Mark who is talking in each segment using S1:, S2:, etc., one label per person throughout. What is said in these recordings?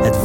S1: Het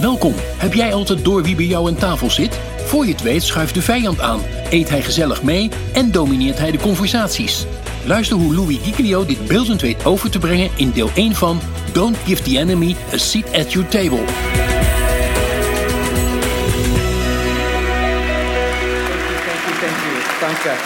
S2: Welkom. Heb jij altijd door wie bij jou aan tafel zit? Voor je het weet schuift de vijand aan, eet hij gezellig mee en domineert hij de conversaties. Luister hoe Louis Giglio dit beeldend weet over te brengen in deel 1 van Don't Give the Enemy a Seat at Your Table.
S3: Thank you, thank you. Danke.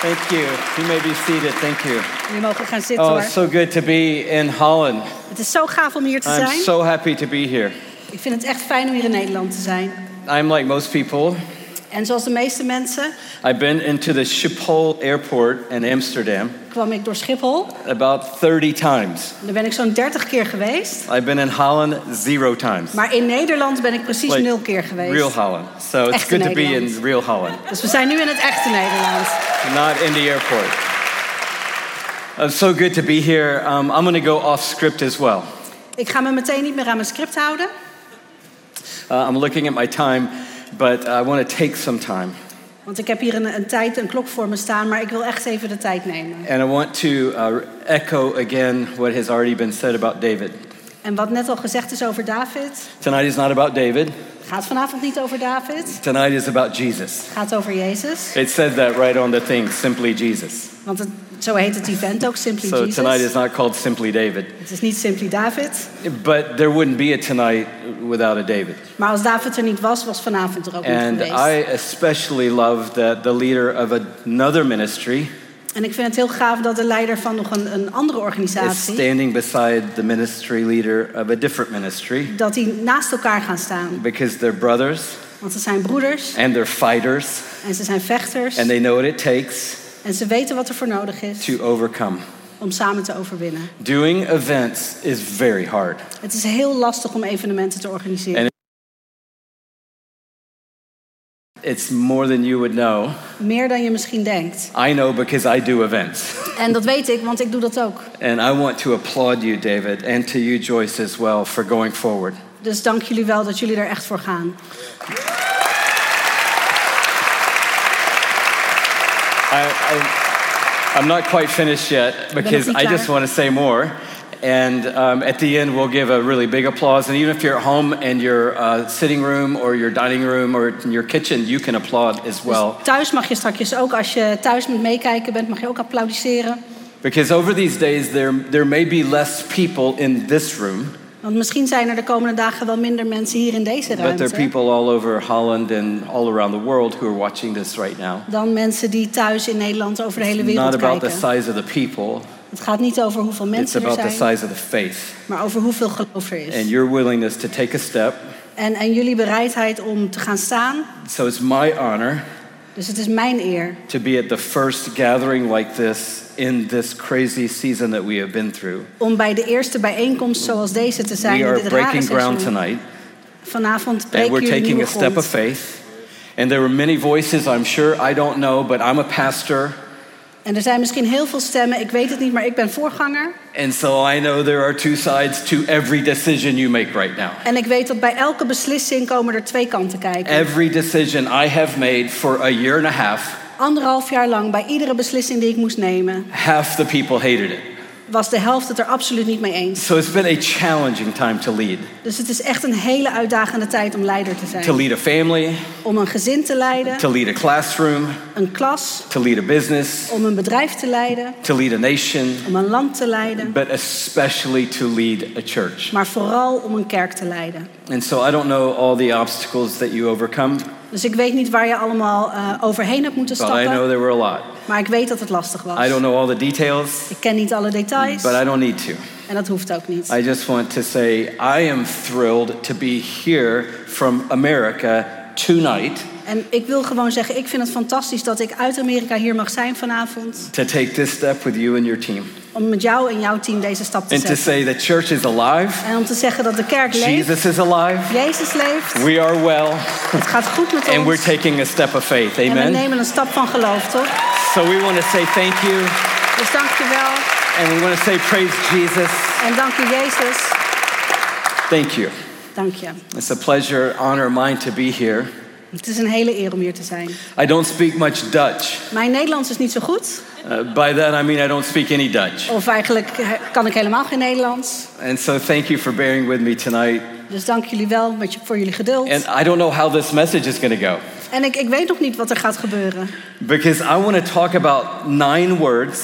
S3: Thank you. You may be seated. Thank you.
S4: Jullie mogen gaan zitten
S3: Oh,
S4: hoor.
S3: it's so good to be in Holland.
S4: Het is zo gaaf om hier te
S3: I'm
S4: zijn.
S3: so happy to be here.
S4: Ik vind het echt fijn om hier in Nederland te zijn.
S3: I'm like most people.
S4: En zoals de meeste mensen
S3: I've been into the Schiphol airport in Amsterdam
S4: kwam ik door Schiphol.
S3: about 30 times.
S4: Daar ben ik zo'n 30 keer geweest.
S3: I've been in Holland zero times.
S4: Maar in Nederland ben ik precies
S3: Like,
S4: nul keer geweest.
S3: Real Holland. So it's
S4: Echte
S3: good to be in
S4: Nederland.
S3: real Holland,
S4: Dus we zijn nu in het echte Nederland.
S3: not in the airport. It's so good to be here. Um, I'm going to go off script as well.
S4: Ik ga me meteen niet meer aan mijn script houden.
S3: Uh, I'm looking at my time, but I want to take some time.
S4: Want ik heb hier een, een tijd, een klok voor me staan. Maar ik wil echt even de tijd nemen.
S3: And I want to uh, echo again what has already been said about David.
S4: En wat net al gezegd is over David.
S3: Tonight is not about David,
S4: Gaat vanavond niet over David.
S3: tonight is about Jesus.
S4: Gaat over Jezus.
S3: It says that right on the thing, simply Jesus.
S4: Want het, zo heet het event ook, Simply
S3: So tonight is
S4: Jesus.
S3: not called simply David.
S4: Het is niet Simply David.
S3: But there wouldn't be a tonight without a David.
S4: Maar als David er niet was, was vanavond er ook
S3: And
S4: niet geweest.
S3: I especially love that the leader of another ministry
S4: En ik vind het heel gaaf dat de leider van nog een, een andere
S3: is
S4: organisatie...
S3: standing beside the ministry leader of a different ministry
S4: dat die naast elkaar gaan staan.
S3: because they're brothers
S4: Want ze zijn broeders
S3: and they're fighters
S4: en ze zijn vechters.
S3: and they know what it takes
S4: En ze weten wat er voor nodig is
S3: to overcome.
S4: om samen te overwinnen.
S3: Doing events is very hard.
S4: Het is heel lastig om evenementen te organiseren.
S3: En- It's more than you would know.
S4: Meer dan je misschien denkt.
S3: I know because I do events.
S4: En dat weet ik, want ik doe dat ook.
S3: And I want to applaud you, David, and to you, Joyce, as well, for going forward.
S4: Dus dank jullie wel dat jullie er echt voor gaan.
S3: I, I, I'm not quite finished yet because I just want to say more. And um, at the end, we'll give a really big applause. And even if you're at home in your uh, sitting room or your dining room or in your kitchen, you can applaud as well.
S4: Dus thuis mag je straks ook, als je thuis met meekijken bent, mag je ook applaudisseren.
S3: Because over these days, there, there may be less people in this room.
S4: Want misschien zijn er de komende dagen wel minder mensen hier in deze
S3: But there are
S4: ruimte.
S3: people all over Holland and all around the world who are watching this right now.
S4: Dan mensen die thuis in Nederland over de hele
S3: It's not
S4: wereld
S3: about the
S4: kijken.
S3: size of the people,
S4: Het gaat niet over hoeveel
S3: it's
S4: mensen er
S3: about the
S4: zijn,
S3: size of the faith
S4: maar over hoeveel geloof er
S3: and
S4: is.
S3: your willingness to take a step.
S4: En, en jullie bereidheid om te gaan staan.
S3: So it's my honor
S4: Dus het is mijn eer
S3: to be at the first gathering like this in this crazy season that we have been through.
S4: om bij de eerste bijeenkomst zoals deze te zijn.
S3: we
S4: in
S3: are
S4: dit rare
S3: breaking ground
S4: seizoen.
S3: tonight,
S4: Vanavond
S3: and
S4: breken
S3: we're
S4: jullie
S3: taking
S4: nieuwe
S3: a step of
S4: grond.
S3: faith. And there were many voices, I'm sure, I don't know, but I'm a pastor.
S4: En er zijn misschien heel veel stemmen, ik weet het niet, maar ik ben voorganger.
S3: And so I know there are two sides to every decision you make right now.
S4: En ik weet dat bij elke beslissing komen er twee kanten kijken.
S3: Every decision I have made for a year and a half,
S4: Anderhalf jaar lang, bij iedere beslissing die ik moest nemen,
S3: half the people hated it.
S4: was de helft het er absoluut niet mee eens.
S3: So it's been a challenging time to lead.
S4: Dus het is echt een hele uitdagende tijd om leider te zijn.
S3: To lead a family,
S4: Om een gezin te leiden,
S3: to lead a classroom,
S4: een klas,
S3: to lead a business,
S4: om een bedrijf te leiden,
S3: to lead a nation,
S4: om een land te leiden,
S3: but especially to lead a church.
S4: maar vooral om een kerk te leiden.
S3: And so I don't know all the obstacles that you overcome,
S4: Dus ik weet niet waar je allemaal eh, overheen hebt moeten
S3: but I know
S4: stappen,
S3: there were a lot.
S4: maar ik weet dat het lastig
S3: I
S4: was.
S3: don't know all the details,
S4: Ik ken niet alle details
S3: but I don't need to.
S4: en dat hoeft ook niet.
S3: I just want to say I am thrilled to be here from America tonight.
S4: En ik wil gewoon zeggen, ik vind het fantastisch dat ik uit Amerika hier mag zijn vanavond
S3: to take this step with you and your team.
S4: om met jou en jouw team deze stap te
S3: and to
S4: zetten.
S3: say the church is alive,
S4: En om te zeggen dat de kerk leeft,
S3: Jesus is alive,
S4: Jezus leeft,
S3: we are well,
S4: het gaat goed met
S3: and we're
S4: ons.
S3: taking a step of faith.
S4: En we
S3: Amen.
S4: nemen een stap van geloof, toch?
S3: So we want to say thank you,
S4: Dus dank je wel
S3: and we want to say praise Jesus.
S4: en dank je Jezus.
S3: Thank you.
S4: Dank je.
S3: It's a pleasure, honor of mine to be here.
S4: Het is een hele eer om hier te zijn.
S3: I don't speak much Dutch.
S4: Mijn Nederlands is niet zo goed.
S3: Uh, by that I mean I don't speak any Dutch.
S4: Of eigenlijk he- kan ik helemaal geen Nederlands.
S3: And so thank you for bearing with me tonight.
S4: Dus dank jullie wel met je- voor jullie geduld.
S3: And I don't know how this message is going to go
S4: En ik, ik weet nog niet wat er gaat gebeuren.
S3: because I want to talk about nine words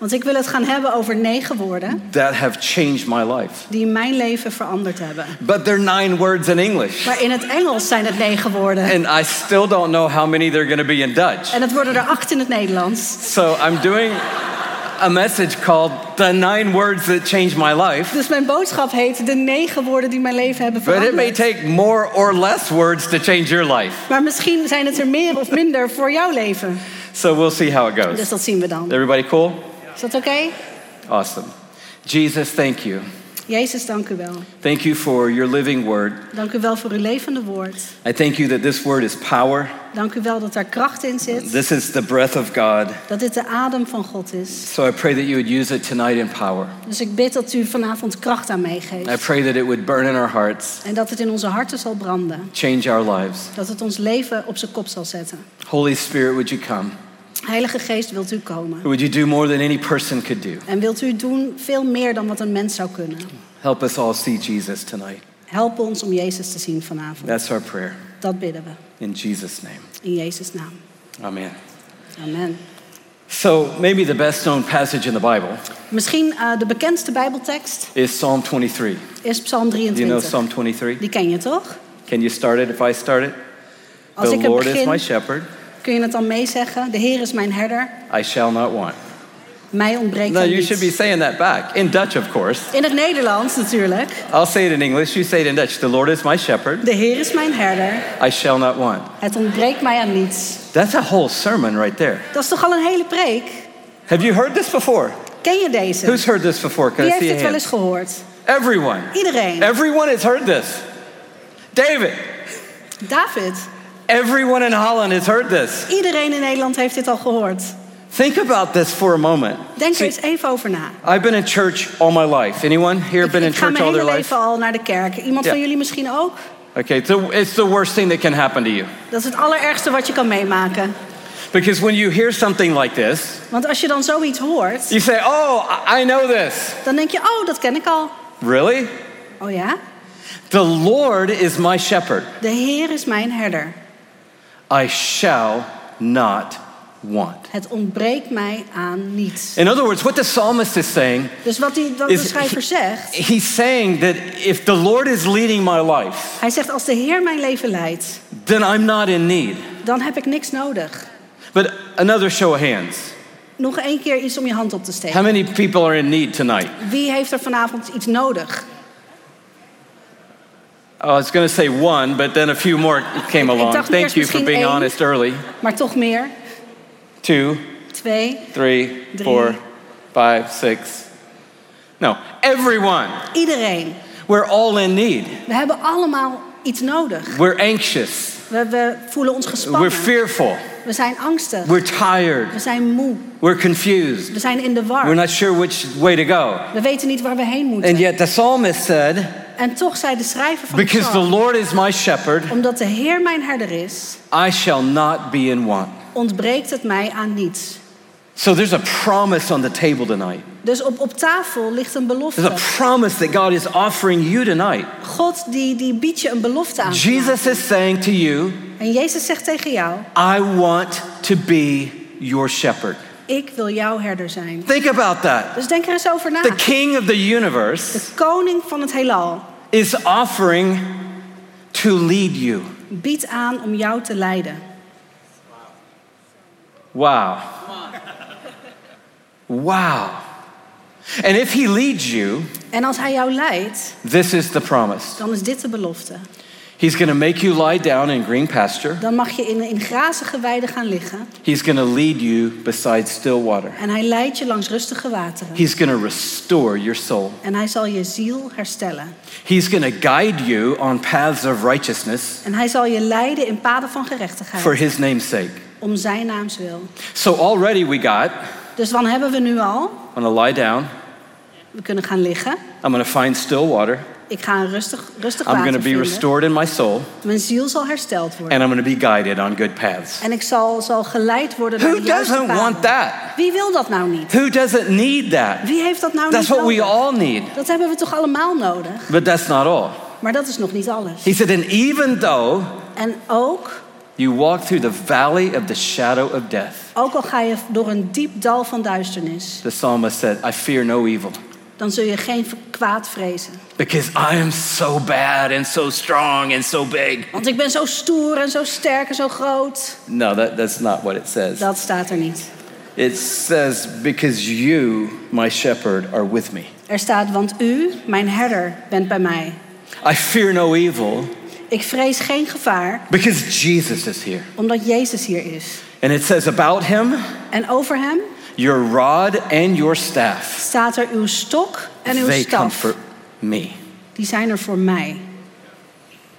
S4: Want ik wil het gaan hebben over negen woorden
S3: that have changed my life.
S4: die mijn leven veranderd hebben.
S3: But they're nine words in English.
S4: Maar in het Engels zijn het negen woorden.
S3: And I still don't know how many there are going to be in Dutch.
S4: En het worden er acht in het Nederlands.
S3: So I'm doing a message called The Nine Words That Changed My Life.
S4: Dus mijn boodschap heet de negen woorden die mijn leven hebben
S3: But it may
S4: veranderd.
S3: take more or less words to change your life.
S4: Maar misschien zijn het er meer of minder voor jouw leven.
S3: So we'll see how it goes.
S4: Dus dat zien we dan.
S3: Everybody cool?
S4: Is dat oké?
S3: Awesome. Jesus, thank you.
S4: Jezus, dank u wel.
S3: Thank you for your living word.
S4: Dank u wel voor uw levende woord.
S3: I thank you that this word is power.
S4: Dank u wel dat daar kracht in zit.
S3: This is the breath of God.
S4: Dat dit de adem van God is.
S3: So I pray that you would use it tonight in power.
S4: Dus ik bid dat u vanavond kracht aan
S3: I
S4: meegeeft.
S3: pray that it would burn in our hearts,
S4: En dat het in onze harten zal branden.
S3: change our lives.
S4: Dat het ons leven op zijn kop zal zetten.
S3: Holy Spirit, would you come?
S4: Heilige Geest, wilt u komen?
S3: Would you do more than any person could do?
S4: En wilt u doen veel meer dan wat een mens zou kunnen?
S3: Help us all see Jesus tonight.
S4: Help ons om Jezus te zien vanavond.
S3: That's our prayer.
S4: Dat bidden we.
S3: In Jesus' name.
S4: In Jezus' naam.
S3: Amen.
S4: Amen.
S3: So, maybe the best known passage in the Bible
S4: Misschien eh, de bekendste Bijbeltekst
S3: is Psalm 23.
S4: is Psalm
S3: Do you know
S4: 23.
S3: Psalm 23?
S4: Die ken je toch?
S3: Can you start it if I start it?
S4: Als
S3: the
S4: ik hem
S3: Lord is my
S4: begin,
S3: shepherd,
S4: kun je het dan meezeggen? De Heer is mijn herder,
S3: I shall not want.
S4: mij ontbreekt
S3: No,
S4: er
S3: Nou, you should be
S4: niets.
S3: saying that back. In Dutch, of course.
S4: In het Nederlands natuurlijk.
S3: I'll say it in English, you say it in Dutch. The Lord is my shepherd,
S4: De Heer is mijn herder,
S3: I shall not want.
S4: het ontbreekt mij aan niets.
S3: That's a whole sermon right there.
S4: Dat is toch al een hele preek?
S3: Have you heard this before?
S4: Ken je deze?
S3: Who's heard this before? Can
S4: Wie
S3: I see
S4: heeft
S3: a
S4: dit wel
S3: hand?
S4: eens gehoord?
S3: Everyone.
S4: Iedereen.
S3: Everyone has heard this. David.
S4: David,
S3: Everyone in Holland has heard this.
S4: iedereen in Nederland heeft dit al gehoord.
S3: Think about this for a moment.
S4: Denk er
S3: See,
S4: eens even over na.
S3: I've been in church all my life. Anyone here
S4: Ik,
S3: been in
S4: ik ga
S3: church
S4: mijn
S3: all their
S4: hele
S3: life?
S4: leven al naar de kerk. Iemand
S3: Ja.
S4: van jullie misschien ook?
S3: Okay, it's the, it's the worst thing that can happen to you.
S4: Dat is het allerergste wat je kan meemaken.
S3: Because when you hear something like this,
S4: Want als je dan zoiets hoort,
S3: you say, Oh, I I know this.
S4: dan denk je, oh, dat ken ik al.
S3: Really?
S4: Oh ja?
S3: The Lord is my shepherd.
S4: De Heer is mijn herder.
S3: I shall not want.
S4: Het ontbreekt mij aan niets.
S3: In other words, what the psalmist is saying,
S4: Dus wat, die, wat de
S3: Is-
S4: schrijver zegt,
S3: he's saying that if the Lord is leading my life,
S4: hij zegt als de Heer mijn leven leidt,
S3: then I'm not in need.
S4: dan heb ik niks nodig.
S3: But another show of hands.
S4: Nog één keer iets om je hand op te
S3: How
S4: steken.
S3: many people are in need tonight?
S4: Wie heeft er vanavond iets nodig?
S3: Oh, I was going to say one, but then a few more came
S4: dacht
S3: along.
S4: eerst
S3: Thank you for
S4: misschien
S3: being
S4: één.
S3: honest early.
S4: Maar toch meer.
S3: Two,
S4: Twee.
S3: three,
S4: Drie.
S3: four, five, six. No, everyone.
S4: Iedereen.
S3: We're all in need.
S4: We hebben allemaal iets nodig.
S3: We're anxious.
S4: We, we voelen ons gespannen.
S3: We're fearful.
S4: We zijn angstig.
S3: We're
S4: We
S3: tired.
S4: zijn moe.
S3: We're confused.
S4: We zijn in de war.
S3: We're not sure which way to go.
S4: We weten niet waar we heen moeten.
S3: And yet the psalmist said,
S4: En toch zei de schrijver van de
S3: Because the
S4: psalm,
S3: Lord is my shepherd,
S4: omdat de Heer mijn herder is,
S3: I shall not be in want.
S4: ontbreekt het mij aan niets.
S3: So there's a promise on the table tonight.
S4: Dus op, op tafel ligt een
S3: There's a
S4: belofte.
S3: promise that God is offering you tonight.
S4: God die, die biedt je een belofte aan.
S3: Jesus is saying to you,
S4: En Jezus zegt tegen jou,
S3: I want to be your shepherd.
S4: ik wil jouw herder zijn.
S3: Think about that.
S4: Dus denk er eens over na.
S3: The king of the universe
S4: De koning van het heelal
S3: is offering to lead you.
S4: biedt aan om jou te leiden.
S3: Wow. Wow. And if he leads you,
S4: En als hij jou leidt,
S3: this is the promise.
S4: dan is dit de belofte.
S3: He's going to make you lie down in green pasture.
S4: Dan mag je in, in grazige weiden gaan liggen.
S3: He's going to lead you beside still water.
S4: En hij leidt je langs rustige wateren.
S3: He's going to restore your soul.
S4: En hij zal je ziel herstellen.
S3: He's going to guide you on paths of righteousness
S4: En hij zal je leiden in paden van
S3: for
S4: gerechtigheid.
S3: his name's sake.
S4: Om zijn naams wil.
S3: So already we got,
S4: Dus dan hebben we nu al.
S3: I'm going to lie down.
S4: We kunnen gaan liggen.
S3: I'm going to find still water.
S4: Ik ga een rustig, rustig
S3: I'm going
S4: water
S3: to be
S4: vinden.
S3: restored in my soul.
S4: Mijn ziel zal hersteld worden.
S3: And I'm going to be guided on good paths.
S4: En ik zal, zal geleid worden door
S3: Who
S4: de juiste
S3: doesn't
S4: paden.
S3: want that?
S4: Wie wil dat nou niet?
S3: Who doesn't need that?
S4: Wie heeft dat nou
S3: That's
S4: niet
S3: what we
S4: nodig?
S3: all need.
S4: Dat hebben we toch allemaal nodig?
S3: But that's not all.
S4: Maar dat is nog niet alles.
S3: He said, and even though
S4: En ook,
S3: you walk through the valley of the shadow of death,
S4: ook al ga je door een diep dal van duisternis,
S3: the psalmist said, I fear no evil
S4: dan zul je geen v- kwaad vrezen.
S3: because I am so bad and so strong and so big.
S4: Want ik ben zo stoer en zo sterk en zo groot.
S3: No, that, that's not what it says.
S4: Dat staat er niet.
S3: It says, because you, my shepherd, are with me.
S4: Er staat, want u, mijn herder, bent bij mij.
S3: I fear no evil
S4: Ik vrees geen gevaar,
S3: because Jesus is here.
S4: omdat Jezus hier is.
S3: And it says about him,
S4: En over hem
S3: your rod and your staff,
S4: staat er uw stok en uw
S3: they
S4: staf.
S3: comfort me.
S4: Die zijn er voor mij.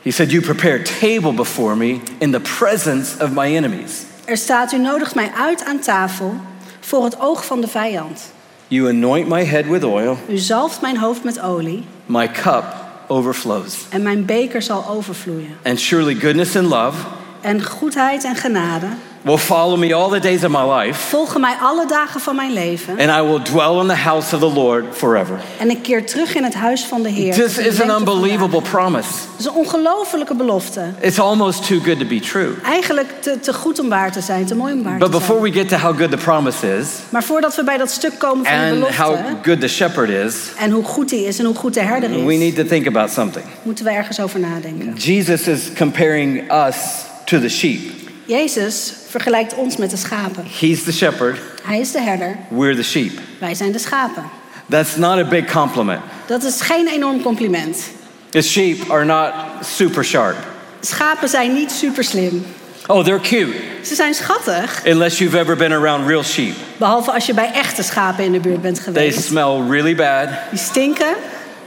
S3: He said, You prepare a table before me in the presence of my enemies.
S4: Er staat, u nodigt mij uit aan tafel voor het oog van de vijand.
S3: You anoint my head with oil,
S4: U zalft mijn hoofd met olie
S3: my cup overflows.
S4: en mijn beker zal overvloeien.
S3: And surely goodness and love
S4: En goedheid en genade
S3: will follow me all the days of my life,
S4: volgen mij alle dagen van mijn leven.
S3: and I will dwell in the house of the Lord forever.
S4: En ik keer terug in het huis van de Heer.
S3: This is an
S4: Dat
S3: unbelievable promise.
S4: is een ongelofelijke belofte.
S3: It's almost too good to be true.
S4: Eigenlijk te, te goed om waar te zijn, te mooi om waar
S3: But
S4: te
S3: before
S4: zijn.
S3: we get to how good the promise is
S4: Maar voordat we bij dat stuk komen van de
S3: and
S4: belofte...
S3: how good the shepherd is,
S4: en hoe goed hij is en hoe goed de herder is...
S3: we need to think about something.
S4: moeten we ergens over nadenken.
S3: Jesus is comparing us to the sheep.
S4: Jezus vergelijkt ons met de schapen.
S3: He's the shepherd,
S4: Hij is de herder,
S3: we're the sheep.
S4: wij zijn de schapen.
S3: That's not a big compliment.
S4: Dat is geen enorm compliment.
S3: The sheep are not super sharp.
S4: Schapen zijn niet super slim.
S3: Oh, they're cute,
S4: Ze zijn schattig,
S3: unless you've ever been around real sheep.
S4: behalve als je bij echte schapen in de buurt bent
S3: They
S4: geweest.
S3: smell really bad.
S4: Die stinken,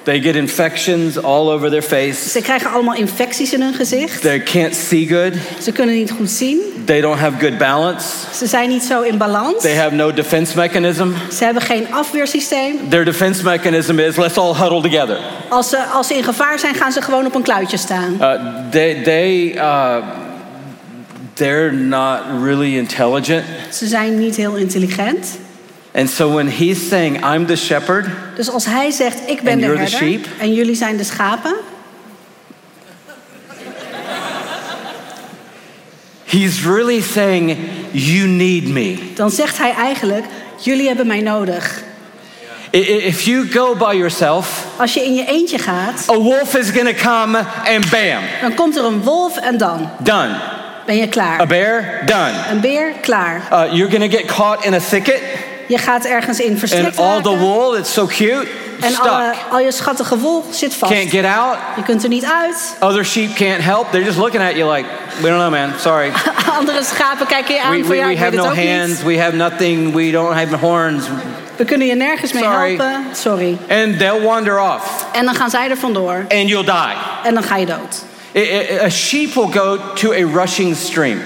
S3: They get infections all over their face.
S4: ze krijgen allemaal infecties in hun gezicht.
S3: They can't see good.
S4: Ze kunnen niet goed zien,
S3: They don't have good balance.
S4: ze zijn niet zo in balans.
S3: They have no defense mechanism.
S4: Ze hebben geen afweersysteem.
S3: Their defense mechanism is let's all huddle together.
S4: Als ze, als ze in gevaar zijn, gaan ze gewoon op een kluitje staan.
S3: Uh, they, they, uh, they're not really intelligent.
S4: Ze zijn niet heel intelligent.
S3: And so when he's saying, I'm the shepherd,
S4: Dus als hij zegt, ik ben
S3: And
S4: de
S3: you're the
S4: herder
S3: sheep?
S4: en jullie zijn de schapen...
S3: he's really saying, You need me.
S4: dan zegt hij eigenlijk, jullie hebben mij nodig.
S3: I- i- If you go by yourself,
S4: Als je in je eentje gaat,
S3: a wolf is going to come and bam,
S4: dan komt er een wolf en dan
S3: done.
S4: ben je
S3: A
S4: klaar.
S3: bear, done.
S4: Een beer, klaar.
S3: Uh, you're going to get caught in a thicket,
S4: Je gaat ergens in
S3: and
S4: verstrikt
S3: all the
S4: raken
S3: wool, it's so cute,
S4: en alle,
S3: stuck.
S4: al je schattige wol zit vast.
S3: Can't get out.
S4: Je kunt er niet uit.
S3: Other sheep can't help. They're just looking at you like, We don't know, man. Sorry.
S4: Andere schapen kijken je aan
S3: We,
S4: voor
S3: we,
S4: jou.
S3: we
S4: ik weet
S3: have
S4: het
S3: no
S4: ook
S3: hands, we have nothing, we don't have horns.
S4: niet. We kunnen je nergens mee
S3: Sorry.
S4: helpen. Sorry.
S3: And they'll wander off,
S4: En dan gaan zij er vandoor
S3: and you'll die.
S4: en dan ga je dood.
S3: I- I- A sheep will go to a rushing stream,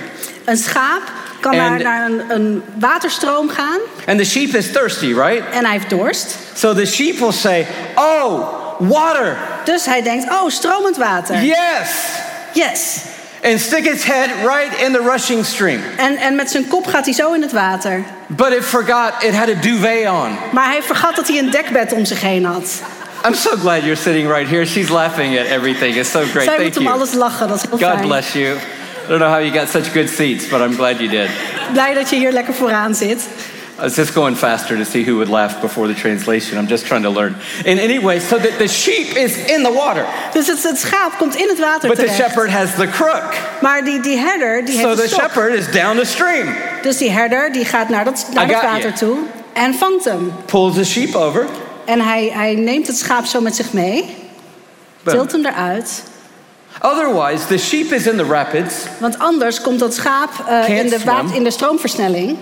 S4: Een schaap kan
S3: En-
S4: naar, naar een, een waterstroom gaan
S3: and the sheep is thirsty, right?
S4: en hij heeft dorst.
S3: So the sheep will say, Oh, water,
S4: Dus hij denkt, oh, stromend water.
S3: yes,
S4: Yes.
S3: and stick its head right in the rushing stream.
S4: En, en met zijn kop gaat hij zo in het water.
S3: But it forgot it had a duvet on.
S4: Maar hij vergat dat hij een dekbed om zich heen had.
S3: I'm so glad you're sitting right here. She's laughing at everything. It's so great.
S4: Zij
S3: Thank
S4: moet om
S3: you.
S4: alles lachen, dat is heel
S3: God
S4: fijn.
S3: bless you. I don't know how you got such good seats, but I'm glad you did.
S4: Blij dat je hier lekker vooraan zit.
S3: I was just going faster to see who would laugh before the translation. I'm just trying to learn. And anyway, so that the sheep is in the water,
S4: Dus het, het schaap komt in het water
S3: but the
S4: terecht.
S3: shepherd has the crook.
S4: Maar die, die herder, die
S3: So
S4: heeft
S3: the
S4: een stok.
S3: shepherd is down the stream,
S4: Dus die herder, die gaat naar dat, naar
S3: I
S4: dat
S3: got
S4: water
S3: you.
S4: toe en vangt hem.
S3: pulls the sheep over,
S4: En hij, hij neemt het schaap zo met zich mee,
S3: Boom.
S4: tilt hem eruit
S3: Otherwise, the sheep is in the rapids.
S4: Want anders komt dat schaap eh,
S3: Can't
S4: in, de
S3: swim.
S4: waat, in de stroomversnelling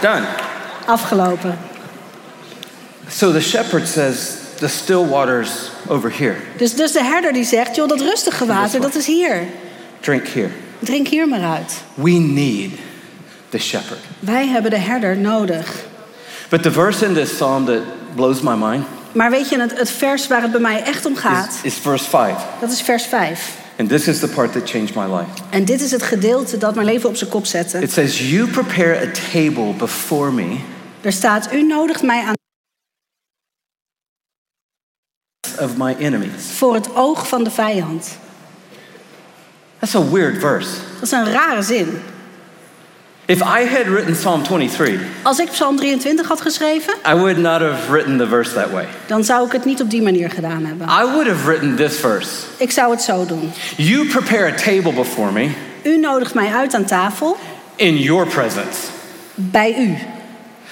S3: Done.
S4: afgelopen.
S3: So the shepherd says, The still water's over here.
S4: Dus, dus de herder die zegt, joh, dat rustige water, dat is hier.
S3: Drink here.
S4: Drink hier maar uit.
S3: We need the shepherd.
S4: Wij hebben de herder nodig.
S3: But the verse in this psalm that blows my mind
S4: Maar weet je, het, het vers waar het bij mij echt om gaat,
S3: is, is verse 5.
S4: dat is vers 5.
S3: And this is the part that changed my life.
S4: En dit is het gedeelte dat mijn leven op zijn kop zette.
S3: It says, You prepare a table before me
S4: Er staat, u nodigt mij aan
S3: of my enemies.
S4: voor het oog van de vijand.
S3: That's a weird verse.
S4: Dat is een rare zin.
S3: If I had written Psalm 23,
S4: Als ik Psalm 23 had geschreven,
S3: I would not have written the verse that way.
S4: dan zou ik het niet op die manier gedaan hebben.
S3: I would have written this verse
S4: Ik zou het zo doen.
S3: You prepare a table before me
S4: U nodigt mij uit aan tafel
S3: in your presence.
S4: bij u.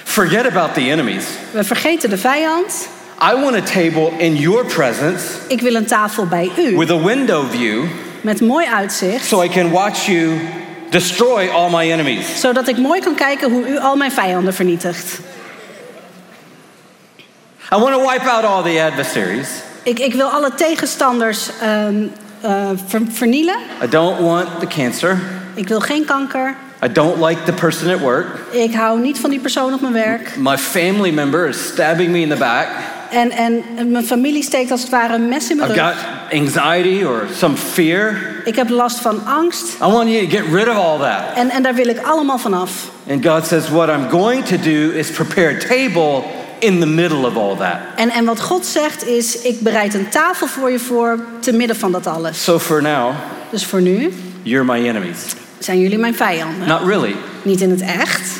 S3: Forget about the enemies.
S4: We vergeten de vijand.
S3: I want a table in your presence
S4: Ik wil een tafel bij u
S3: with a window view
S4: met mooi uitzicht,
S3: so I can watch you destroy all my enemies.
S4: zodat ik mooi kan kijken hoe u al mijn vijanden vernietigt.
S3: I want to wipe out all the adversaries.
S4: Ik, ik wil alle tegenstanders ehm, eh, ver- vernielen.
S3: I don't want the cancer.
S4: Ik wil geen kanker.
S3: I don't like the person at work.
S4: Ik hou niet van die persoon op mijn werk.
S3: My family member is stabbing me in the back.
S4: En, en mijn familie steekt als het ware een mes in mijn
S3: I've
S4: rug.
S3: got anxiety or some fear.
S4: Ik heb last van angst.
S3: I want you to get rid of all that.
S4: En, en daar wil ik allemaal van af.
S3: And God says, What I'm going to do is prepare a table in the middle of all that.
S4: En, en wat God zegt is, ik bereid een tafel voor je voor, te midden van dat alles.
S3: So for now,
S4: Dus voor nu
S3: you're my enemies.
S4: zijn jullie mijn vijanden.
S3: Not really,
S4: Niet in het echt,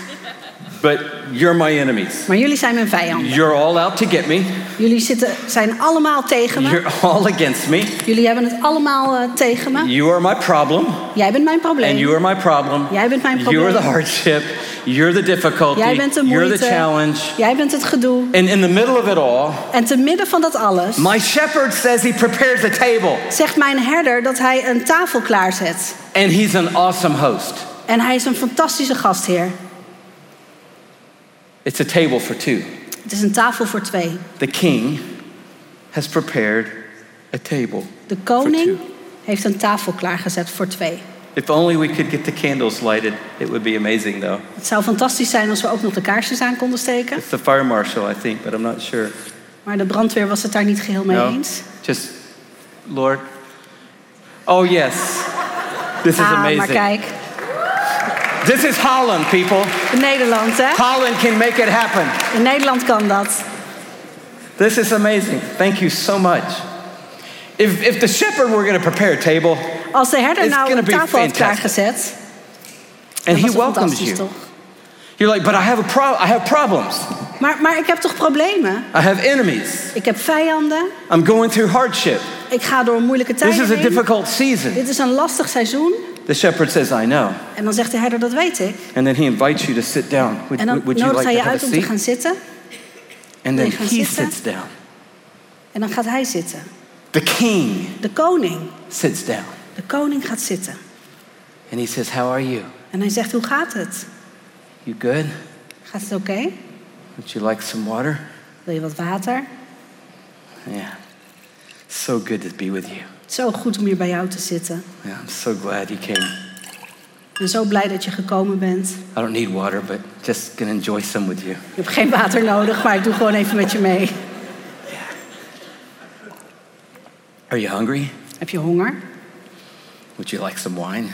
S3: but you're my enemies.
S4: maar jullie zijn mijn vijanden.
S3: You're all out to get me.
S4: Jullie zitten, zijn allemaal tegen me.
S3: You're all against me.
S4: Jullie hebben het allemaal eh, tegen me.
S3: You are my problem,
S4: Jij bent mijn
S3: and
S4: probleem.
S3: you are my problem.
S4: Jij bent mijn
S3: You are
S4: probleem.
S3: the hardship. You're the difficulty.
S4: Jij bent de
S3: You're the
S4: moeite.
S3: challenge.
S4: Jij bent het gedoe.
S3: And in the middle of it all,
S4: En te midden van dat alles
S3: my shepherd says he prepares a table,
S4: zegt mijn herder dat hij een tafel klaarzet.
S3: and he's an awesome host.
S4: En hij is een fantastische gastheer.
S3: It's a table for two.
S4: Het is een tafel voor twee.
S3: The king has prepared a table.
S4: De
S3: Voor
S4: koning
S3: twee.
S4: heeft een tafel klaargezet voor twee.
S3: If only we could get the candles lighted, it would be amazing though.
S4: Het zou fantastisch zijn als we ook nog de kaarsjes aan konden steken.
S3: It's the fire marshal, I think, but I'm not sure.
S4: Maar de brandweer was het daar niet geheel mee
S3: No,
S4: eens.
S3: just Lord. Oh yes, this is
S4: Ah, maar
S3: amazing.
S4: kijk.
S3: This is Holland, people.
S4: In Nederland, hè?
S3: Holland can make it happen.
S4: In Nederland kan dat.
S3: This is amazing. Thank you so much. If, if the shepherd were going to prepare a table,
S4: Als de herder
S3: It's
S4: nou
S3: gonna
S4: een
S3: be
S4: tafel had
S3: fantastic.
S4: klaargezet,
S3: and
S4: dan
S3: he
S4: was het
S3: welcomes
S4: fantastisch,
S3: you,
S4: toch?
S3: you're like, but I have a pro- I have problems.
S4: Maar, maar ik heb toch problemen?
S3: I have enemies.
S4: Ik heb vijanden.
S3: I'm going through hardship.
S4: Ik ga door moeilijke
S3: This
S4: tijden
S3: is a
S4: heen.
S3: difficult season.
S4: Dit is een lastig seizoen.
S3: The shepherd says, I know.
S4: En dan zegt de herder, dat weet ik.
S3: And then he invites you to sit down. Would,
S4: En dan
S3: would- would you like
S4: nodigt hij
S3: to
S4: je
S3: have a
S4: uit om te
S3: seat?
S4: gaan zitten.
S3: And then
S4: wil je gaan
S3: he
S4: zitten?
S3: sits down.
S4: En dan gaat hij zitten.
S3: The king
S4: De koning.
S3: sits down.
S4: De koning gaat zitten.
S3: And he says, How are you?
S4: En hij zegt, hoe gaat het?
S3: You good?
S4: Gaat het oké?
S3: Would you like some water?
S4: Wil je wat water?
S3: Yeah. So good to be with you.
S4: Zo goed om hier bij jou te zitten.
S3: Yeah, I'm so glad you came.
S4: En zo blij dat je gekomen bent.
S3: I don't need water, but just gonna enjoy some with you.
S4: Je hebt geen water nodig, maar ik doe gewoon even met je mee.
S3: Are you hungry?
S4: Heb je honger?
S3: Would you like some wine?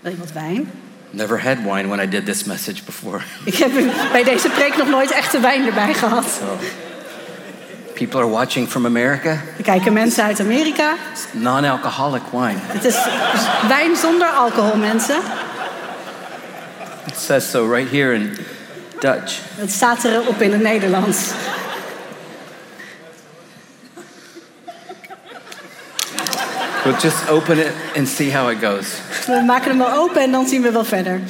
S4: Wil je wat wijn?
S3: Never had wine when I did this message before.
S4: Ik heb bij deze preek nog nooit echte wijn erbij gehad.
S3: People are watching from America.
S4: Er kijken mensen uit Amerika.
S3: It's non alcoholic wine.
S4: Het is wijn zonder alcohol, mensen.
S3: It says so right here in Dutch.
S4: Dat staat erop in het Nederlands.
S3: We'll just open it and see how it goes.
S4: We maken hem wel open en dan zien we wel verder.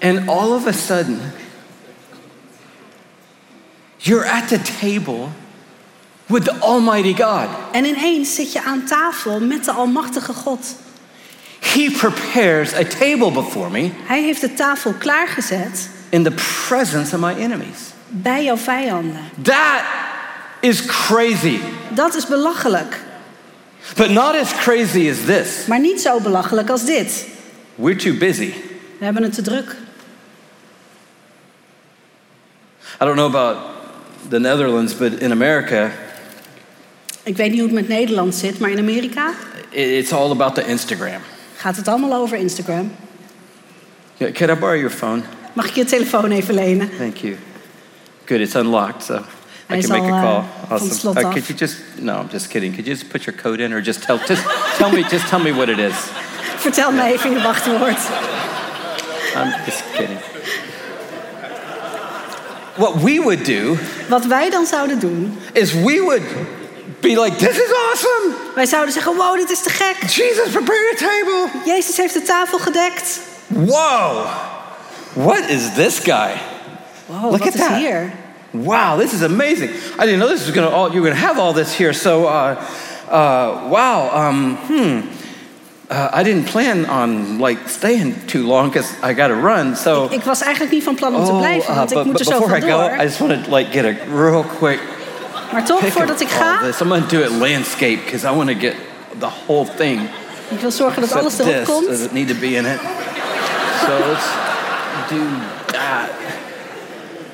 S3: And all of a sudden, you're at the table with the Almighty God.
S4: En ineens zit je aan tafel met de Almachtige God.
S3: He prepares a table before me
S4: Hij heeft de tafel klaargezet
S3: in the presence of my enemies.
S4: bij jouw vijanden.
S3: That is crazy,
S4: Dat is belachelijk,
S3: but not as crazy as this.
S4: maar niet zo belachelijk als dit.
S3: We're too busy.
S4: We hebben het te druk.
S3: I don't know about the Netherlands, but in America,
S4: Ik weet niet hoe het met Nederland zit, maar in Amerika
S3: i- it's all about the Instagram.
S4: gaat het allemaal over Instagram.
S3: Yeah, Can I borrow your phone?
S4: Mag ik je telefoon even lenen?
S3: Thank you. Good, it's unlocked, so I
S4: Hij
S3: can
S4: is
S3: make a
S4: al, eh,
S3: call.
S4: van het
S3: Awesome.
S4: slot
S3: Uh,
S4: af.
S3: could you just? No, I'm just kidding. Could you just put your code in, or just tell? Just tell me. Just tell me what it is.
S4: Vertel me even je wachtwoord.
S3: I'm just kidding. What we would do
S4: Wat wij dan zouden doen.
S3: is we would be like, "This is awesome!
S4: Wij zouden zeggen, wow, dit is te gek.
S3: Jesus prepare a table.
S4: Jezus heeft de tafel gedekt.
S3: Whoa! What is this guy?
S4: Wow,
S3: Look
S4: wat
S3: at
S4: is
S3: that.
S4: hier?
S3: Wow, this is amazing. I didn't know this was gonna all, you were gonna have all this here. So, uh, uh, wow. Um, hmm. Uh, I didn't plan on like staying too long because I got to run. So,
S4: Ik was eigenlijk niet van plan om te blijven,
S3: uh,
S4: want ik
S3: but,
S4: moet
S3: but
S4: er zo
S3: before I
S4: van
S3: go, I
S4: door.
S3: just want to like get a real quick
S4: Maar toch,
S3: pick
S4: Oh, voordat
S3: of
S4: ik
S3: all
S4: ga,
S3: this. I'm gonna do it landscape because I want to get the whole thing.
S4: ik wil zorgen dat
S3: except
S4: alles erop
S3: this
S4: komt.
S3: doesn't need to be in it. So let's do that.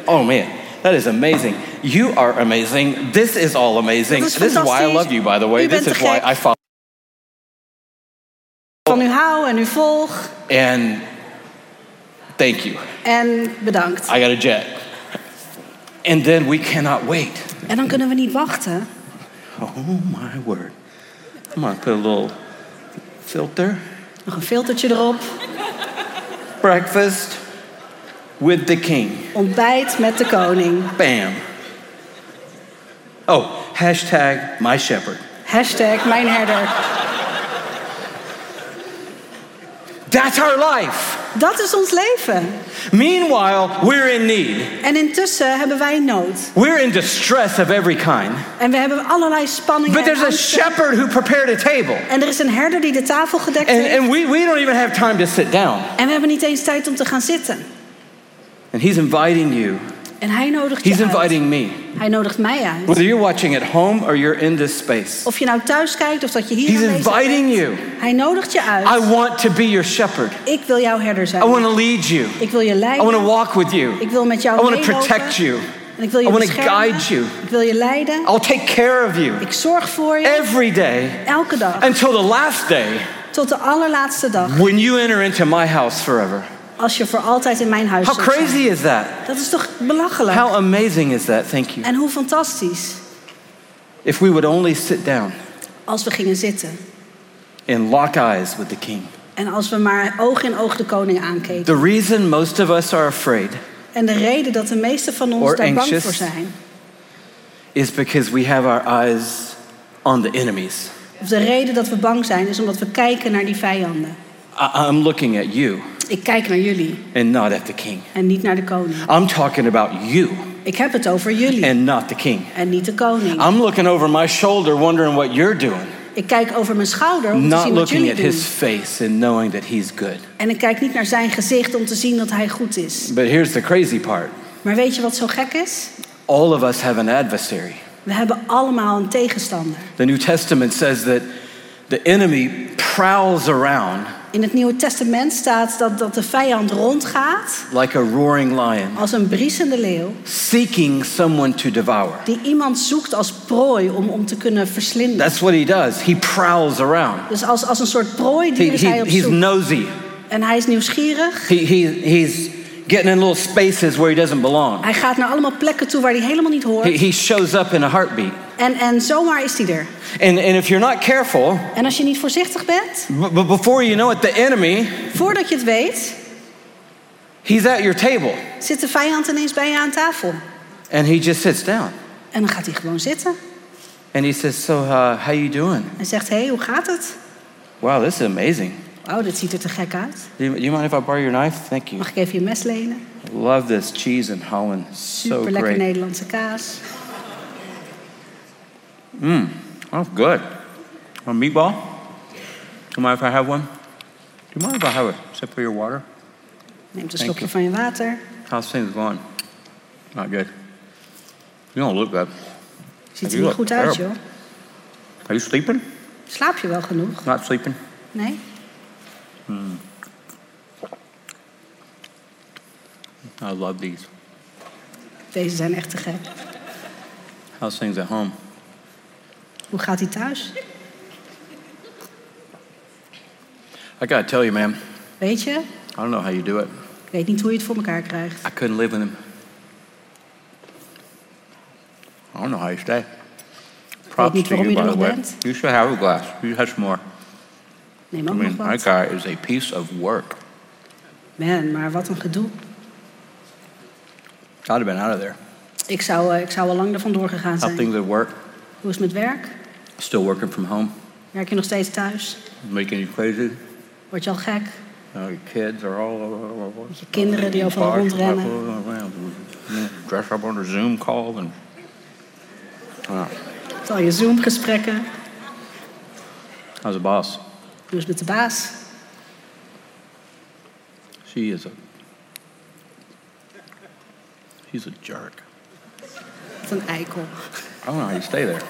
S3: Oh man, that is amazing. You are amazing. This is all amazing.
S4: Dat is
S3: this is why I
S4: fantastisch.
S3: love you, by the way.
S4: U
S3: This
S4: bent
S3: is
S4: te
S3: why
S4: gek.
S3: I follow.
S4: Van u hou en u volg.
S3: And thank you.
S4: En bedankt.
S3: I got a jet. And then we cannot wait.
S4: En dan kunnen we niet wachten.
S3: Oh my word. I'm gonna put a little filter.
S4: Nog een filtertje erop.
S3: Breakfast with the king.
S4: Ontbijt met de koning.
S3: Bam. Oh, hashtag my shepherd.
S4: Hashtag mijn herder.
S3: That's our life.
S4: Dat is ons leven.
S3: Meanwhile, we're in need.
S4: En intussen hebben wij nood.
S3: We're in distress of every kind.
S4: En we hebben allerlei spanningen.
S3: But there's
S4: en
S3: a
S4: angsten.
S3: shepherd who prepared a table.
S4: En er is een herder die de tafel gedekt
S3: And,
S4: heeft.
S3: and we, we don't even have time to sit down.
S4: En we hebben niet eens tijd om te gaan zitten.
S3: And he's inviting you,
S4: En hij nodigt je
S3: he's
S4: uit.
S3: inviting me.
S4: Hij nodigt mij uit.
S3: Whether you're watching at home or you're in this space,
S4: Of je nou thuis kijkt of dat je hier
S3: he's
S4: aanwezig
S3: inviting
S4: bent.
S3: you.
S4: Hij nodigt je uit.
S3: I want to be your shepherd.
S4: ik wil jouw herder zijn.
S3: I want to lead you.
S4: ik wil je
S3: I
S4: leiden.
S3: want to walk with you.
S4: ik wil met jou
S3: I want to
S4: meelopen.
S3: protect you.
S4: En ik wil je
S3: I wanna
S4: beschermen.
S3: guide you.
S4: Ik wil je leiden.
S3: I'll take care of you
S4: ik zorg voor je.
S3: every day
S4: elke dag.
S3: until the last day
S4: tot de allerlaatste dag.
S3: when you enter into my house forever.
S4: Als je voor altijd in mijn huis
S3: How
S4: zult zijn.
S3: crazy is that?
S4: Dat is toch belachelijk?
S3: How amazing is that? Thank you.
S4: en hoe fantastisch
S3: If we would only sit down
S4: als we gingen zitten.
S3: and lock eyes with the king.
S4: En als we maar oog in oog de koning aankeken.
S3: The reason most of us are afraid
S4: En de reden dat de meesten van ons
S3: Or
S4: daar bang
S3: anxious.
S4: voor zijn.
S3: is because we have our eyes on the enemies.
S4: Of de reden dat we bang zijn is omdat we kijken naar die vijanden.
S3: I- I'm looking at you
S4: Ik kijk naar jullie
S3: and not at the king.
S4: en niet naar de koning.
S3: I'm talking about you
S4: Ik heb het over jullie
S3: and not the king.
S4: en niet de koning.
S3: I'm looking over my shoulder wondering what you're doing,
S4: Ik kijk over mijn schouder om te
S3: not
S4: zien wat
S3: looking
S4: jullie
S3: at
S4: doen.
S3: his face and knowing that he's good.
S4: En ik kijk niet naar zijn gezicht om te zien dat hij goed is.
S3: But here's the crazy part
S4: Maar weet je wat zo gek is?
S3: all of us have an adversary.
S4: We hebben allemaal een tegenstander.
S3: The New Testament says that the enemy prowls around
S4: In het Nieuwe Testament staat dat, dat de vijand rondgaat
S3: like a roaring lion,
S4: als een briesende leeuw.
S3: seeking someone to devour.
S4: Die iemand zoekt als prooi om, om te kunnen verslinden.
S3: That's what he does. He prowls around.
S4: Dus als, als een soort
S3: He,
S4: prooidier is hij
S3: he,
S4: op
S3: he's
S4: zoek.
S3: nosy.
S4: En hij is nieuwsgierig.
S3: He, he, he's getting in little spaces where he doesn't belong.
S4: Hij gaat naar allemaal plekken toe waar hij helemaal niet hoort.
S3: He, he shows up in a heartbeat.
S4: En, en zomaar is hij er.
S3: And, and if you're not careful,
S4: En als je niet voorzichtig bent,
S3: b- b- before you know it, the enemy,
S4: voordat je het weet,
S3: he's at your table
S4: zit de vijand ineens bij je aan tafel.
S3: and he just sits down.
S4: En dan gaat hij gewoon zitten.
S3: And he says, so uh, how you doing?
S4: En zegt, hé, hey, hoe gaat het?
S3: Wow, this is amazing.
S4: Wauw, dit ziet er te gek uit.
S3: Do you, do you mind if I borrow your knife? Thank you.
S4: Mag ik even je mes lenen?
S3: Love this cheese in Holland. So
S4: Super lekker
S3: great.
S4: Nederlandse kaas.
S3: Oh, good. A meatball? Do you mind if I have one? Do you mind if I have a sip of your water?
S4: Neemt een
S3: Dank
S4: slokje
S3: je.
S4: van je water.
S3: How's things going? Not good. You don't look good.
S4: Ziet er
S3: You
S4: niet
S3: look
S4: goed uit, joh.
S3: terrible. Are you sleeping?
S4: Slaap je wel genoeg?
S3: Not sleeping?
S4: Nee?
S3: I love these.
S4: Deze zijn echt te gek.
S3: How's things at home?
S4: Hoe gaat hij thuis?
S3: I gotta tell you, man,
S4: Weet je?
S3: I don't know how you do it.
S4: Ik weet niet hoe je het voor elkaar krijgt.
S3: I couldn't live with him. I don't know how you stay. Props
S4: niet
S3: to
S4: waarom
S3: you,
S4: je er
S3: by the
S4: nog
S3: way.
S4: bent.
S3: You should have a glass. You have some more.
S4: Neem
S3: I
S4: ook
S3: mean,
S4: nog
S3: my
S4: wat.
S3: guy is a piece of work.
S4: Man, maar wat een gedoe.
S3: I'd have been out of there.
S4: Ik zou, eh, ik zou al lang ervan doorgegaan
S3: How
S4: zijn.
S3: things at work?
S4: Hoe is het met werk?
S3: Still working from home?
S4: Werk je nog steeds thuis?
S3: Making you crazy?
S4: Word je al gek?
S3: Now your kids are all over.
S4: Je kinderen die overal rondrennen.
S3: Dress up on a Zoom call and uh,
S4: Met al je Zoom-gesprekken.
S3: how's the boss?
S4: Hoe is het met de baas?
S3: She is a she's a jerk.
S4: Wat een eikel.
S3: I don't know how you stay there.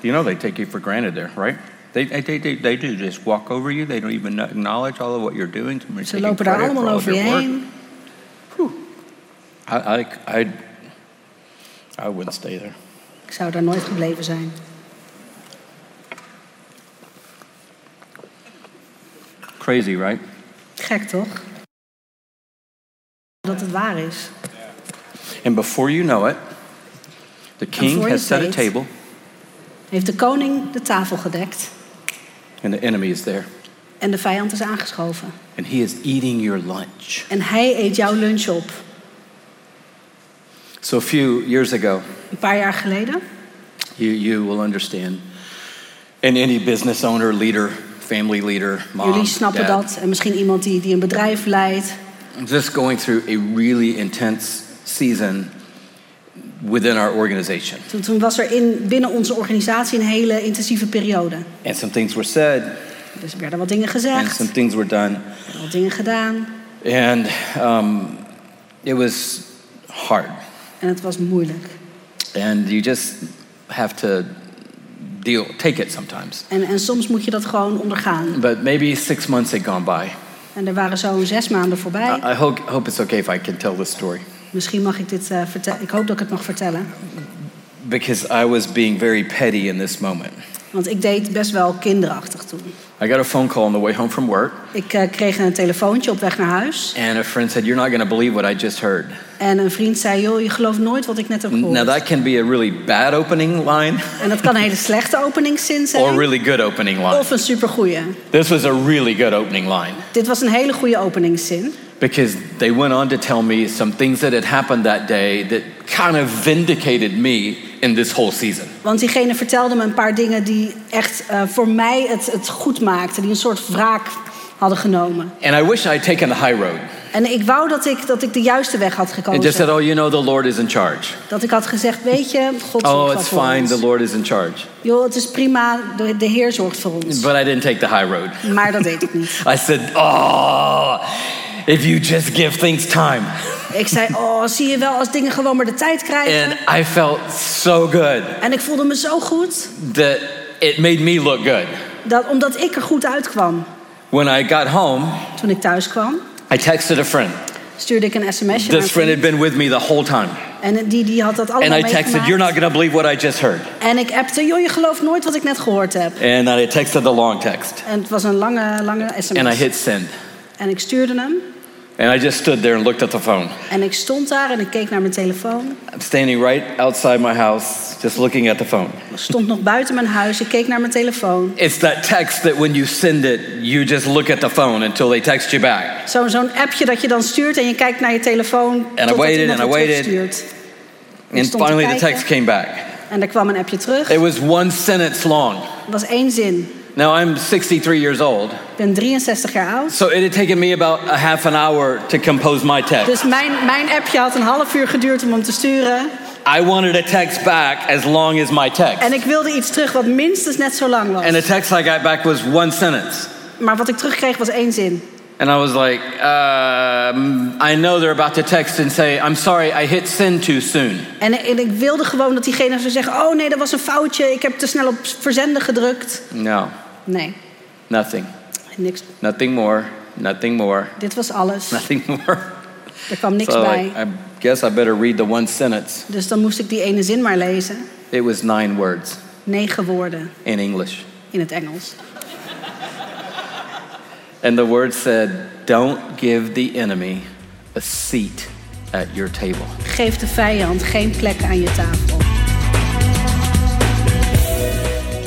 S3: You know they take you for granted there, right? They they they, they, they do just walk over you. They don't even acknowledge all of what you're doing. Somebody's
S4: Ze
S3: taking
S4: lopen daar
S3: credit for all
S4: allemaal
S3: of
S4: over je
S3: your work.
S4: heen.
S3: I I I I wouldn't stay there.
S4: Ik zou daar nooit gebleven zijn.
S3: Crazy, right?
S4: Gek toch? Dat het waar is.
S3: And before you know it, the king
S4: voor je
S3: has set a
S4: het weet-
S3: table,
S4: Heeft de koning de tafel gedekt
S3: and the enemy is there,
S4: en de vijand is aangeschoven.
S3: and he is eating your lunch.
S4: En hij eet jouw lunch op.
S3: So a few years ago,
S4: Een paar jaar geleden,
S3: you you will understand. And any business owner, leader, family leader, mom,
S4: jullie snappen
S3: dad,
S4: dat. En misschien iemand die, die een bedrijf leidt.
S3: just going through a really intense season within our organization.
S4: Toen, toen was er in, binnen onze organisatie een hele intensieve periode.
S3: And some things were said,
S4: Dus er werden wat dingen
S3: and
S4: gezegd,
S3: some things were done.
S4: wat dingen gedaan.
S3: And um, it was hard.
S4: En het was moeilijk.
S3: And you just have to deal, take it sometimes.
S4: En, en soms moet je dat gewoon ondergaan.
S3: But maybe six months had gone by.
S4: En er waren zo'n zes maanden voorbij.
S3: I, I hope, hope it's okay if I can tell this story.
S4: Misschien mag ik dit vertellen. Ik hoop dat ik het mag vertellen.
S3: Because I was being very petty in this moment.
S4: Want ik deed best wel kinderachtig toen.
S3: I got a phone call on the way home from work,
S4: Ik eh, kreeg een telefoontje op weg naar huis.
S3: and a friend said, You're not going to believe what I just heard.
S4: En een vriend zei, joh, je gelooft nooit wat ik net heb
S3: Now,
S4: gehoord.
S3: that can be a really bad opening line
S4: En dat kan een hele slechte openingszin
S3: or
S4: zijn.
S3: really good opening line.
S4: Of een supergoeie.
S3: This was a really good opening line
S4: Dit was een hele goede openingszin.
S3: because they went on to tell me some things that had happened that day that kind of vindicated me in this whole season.
S4: Want diegene vertelde me een paar dingen die echt eh, voor mij het, het goed maakten. Die een soort wraak hadden genomen.
S3: And I wish I'd taken the high road
S4: En ik wou dat ik, dat ik de juiste weg had
S3: and just said,
S4: gekozen.
S3: Oh, you know, the Lord is in charge.
S4: Dat ik had gezegd, weet je, God
S3: Oh,
S4: zorgt wel
S3: it's
S4: voor
S3: fine, the
S4: ons.
S3: Lord is in charge.
S4: Joh, het is prima, de, de Heer zorgt voor ons.
S3: But I didn't take the high road.
S4: Maar dat deed ik niet.
S3: I said, Oh, if you just give things time.
S4: Ik zei, oh, zie je wel, als dingen gewoon maar de tijd krijgen.
S3: And I felt so good
S4: En ik voelde me zo goed,
S3: that it made me look good.
S4: dat, omdat ik er goed uitkwam.
S3: When I got home,
S4: Toen ik thuis kwam,
S3: I texted a friend.
S4: stuurde ik een sms'je naar
S3: This friend had
S4: vriend.
S3: been with me the whole time.
S4: En die, die had dat
S3: And
S4: allemaal
S3: I texted, You're not
S4: meegemaakt.
S3: going to believe what I just heard.
S4: En ik appte, joh, je gelooft nooit wat ik net gehoord heb.
S3: And I texted the long text.
S4: En het was een lange, lange sms.
S3: And I hit send.
S4: En ik stuurde hem.
S3: And I just stood there and looked at the phone.
S4: En ik stond daar en ik keek naar mijn telefoon.
S3: I'm standing right outside my house, just looking at the phone.
S4: Ik stond nog buiten mijn huis, ik keek naar mijn telefoon.
S3: It's that text that when you send it, you just look at the phone until they text you back.
S4: Zo- Zo'n appje dat je dan stuurt en je kijkt naar je telefoon.
S3: I
S4: totdat
S3: waited
S4: iemand
S3: and I
S4: het
S3: waited.
S4: terugstuurt.
S3: And
S4: stond te
S3: finally, the
S4: kijken.
S3: text came back.
S4: En er kwam een appje terug.
S3: It was one sentence long.
S4: Het was één zin.
S3: Now, I'm 63 years old,
S4: Ik ben 63 jaar oud.
S3: so it had taken me about a half an hour to compose my text.
S4: Dus mijn, mijn appje had een half uur geduurd om hem te sturen.
S3: I wanted a text back as long as my text.
S4: En ik wilde iets terug wat minstens net zo lang was.
S3: And the text I got back was one sentence.
S4: Maar wat ik terugkreeg was één zin.
S3: And I was like, um, I know they're about to text and say, I'm sorry, I hit send too soon.
S4: En, en ik wilde gewoon dat diegene zou zeggen... oh nee, dat was een foutje, ik heb te snel op verzenden gedrukt.
S3: No,
S4: Nee,
S3: nothing.
S4: niks.
S3: Nothing more, nothing more,
S4: Dit was alles.
S3: nothing more.
S4: Er kwam niks
S3: so
S4: bij.
S3: like, I guess I better read the one sentence.
S4: Dus dan moest ik die ene zin maar lezen.
S3: It was nine words
S4: Negen woorden
S3: in English.
S4: in het Engels.
S3: And the word said, Don't give the enemy a seat at your table.
S4: Geef de vijand geen plek aan je tafel.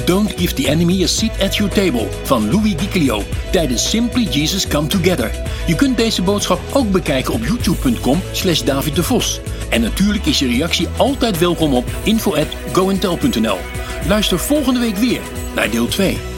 S2: Don't Give the Enemy a Seat at Your Table van Louis DiClio tijdens Simply Jesus Come Together. Je kunt deze boodschap ook bekijken op youtube.com slash David de Vos. En natuurlijk is je reactie altijd welkom op info@goentel.nl. Luister volgende week weer naar deel 2.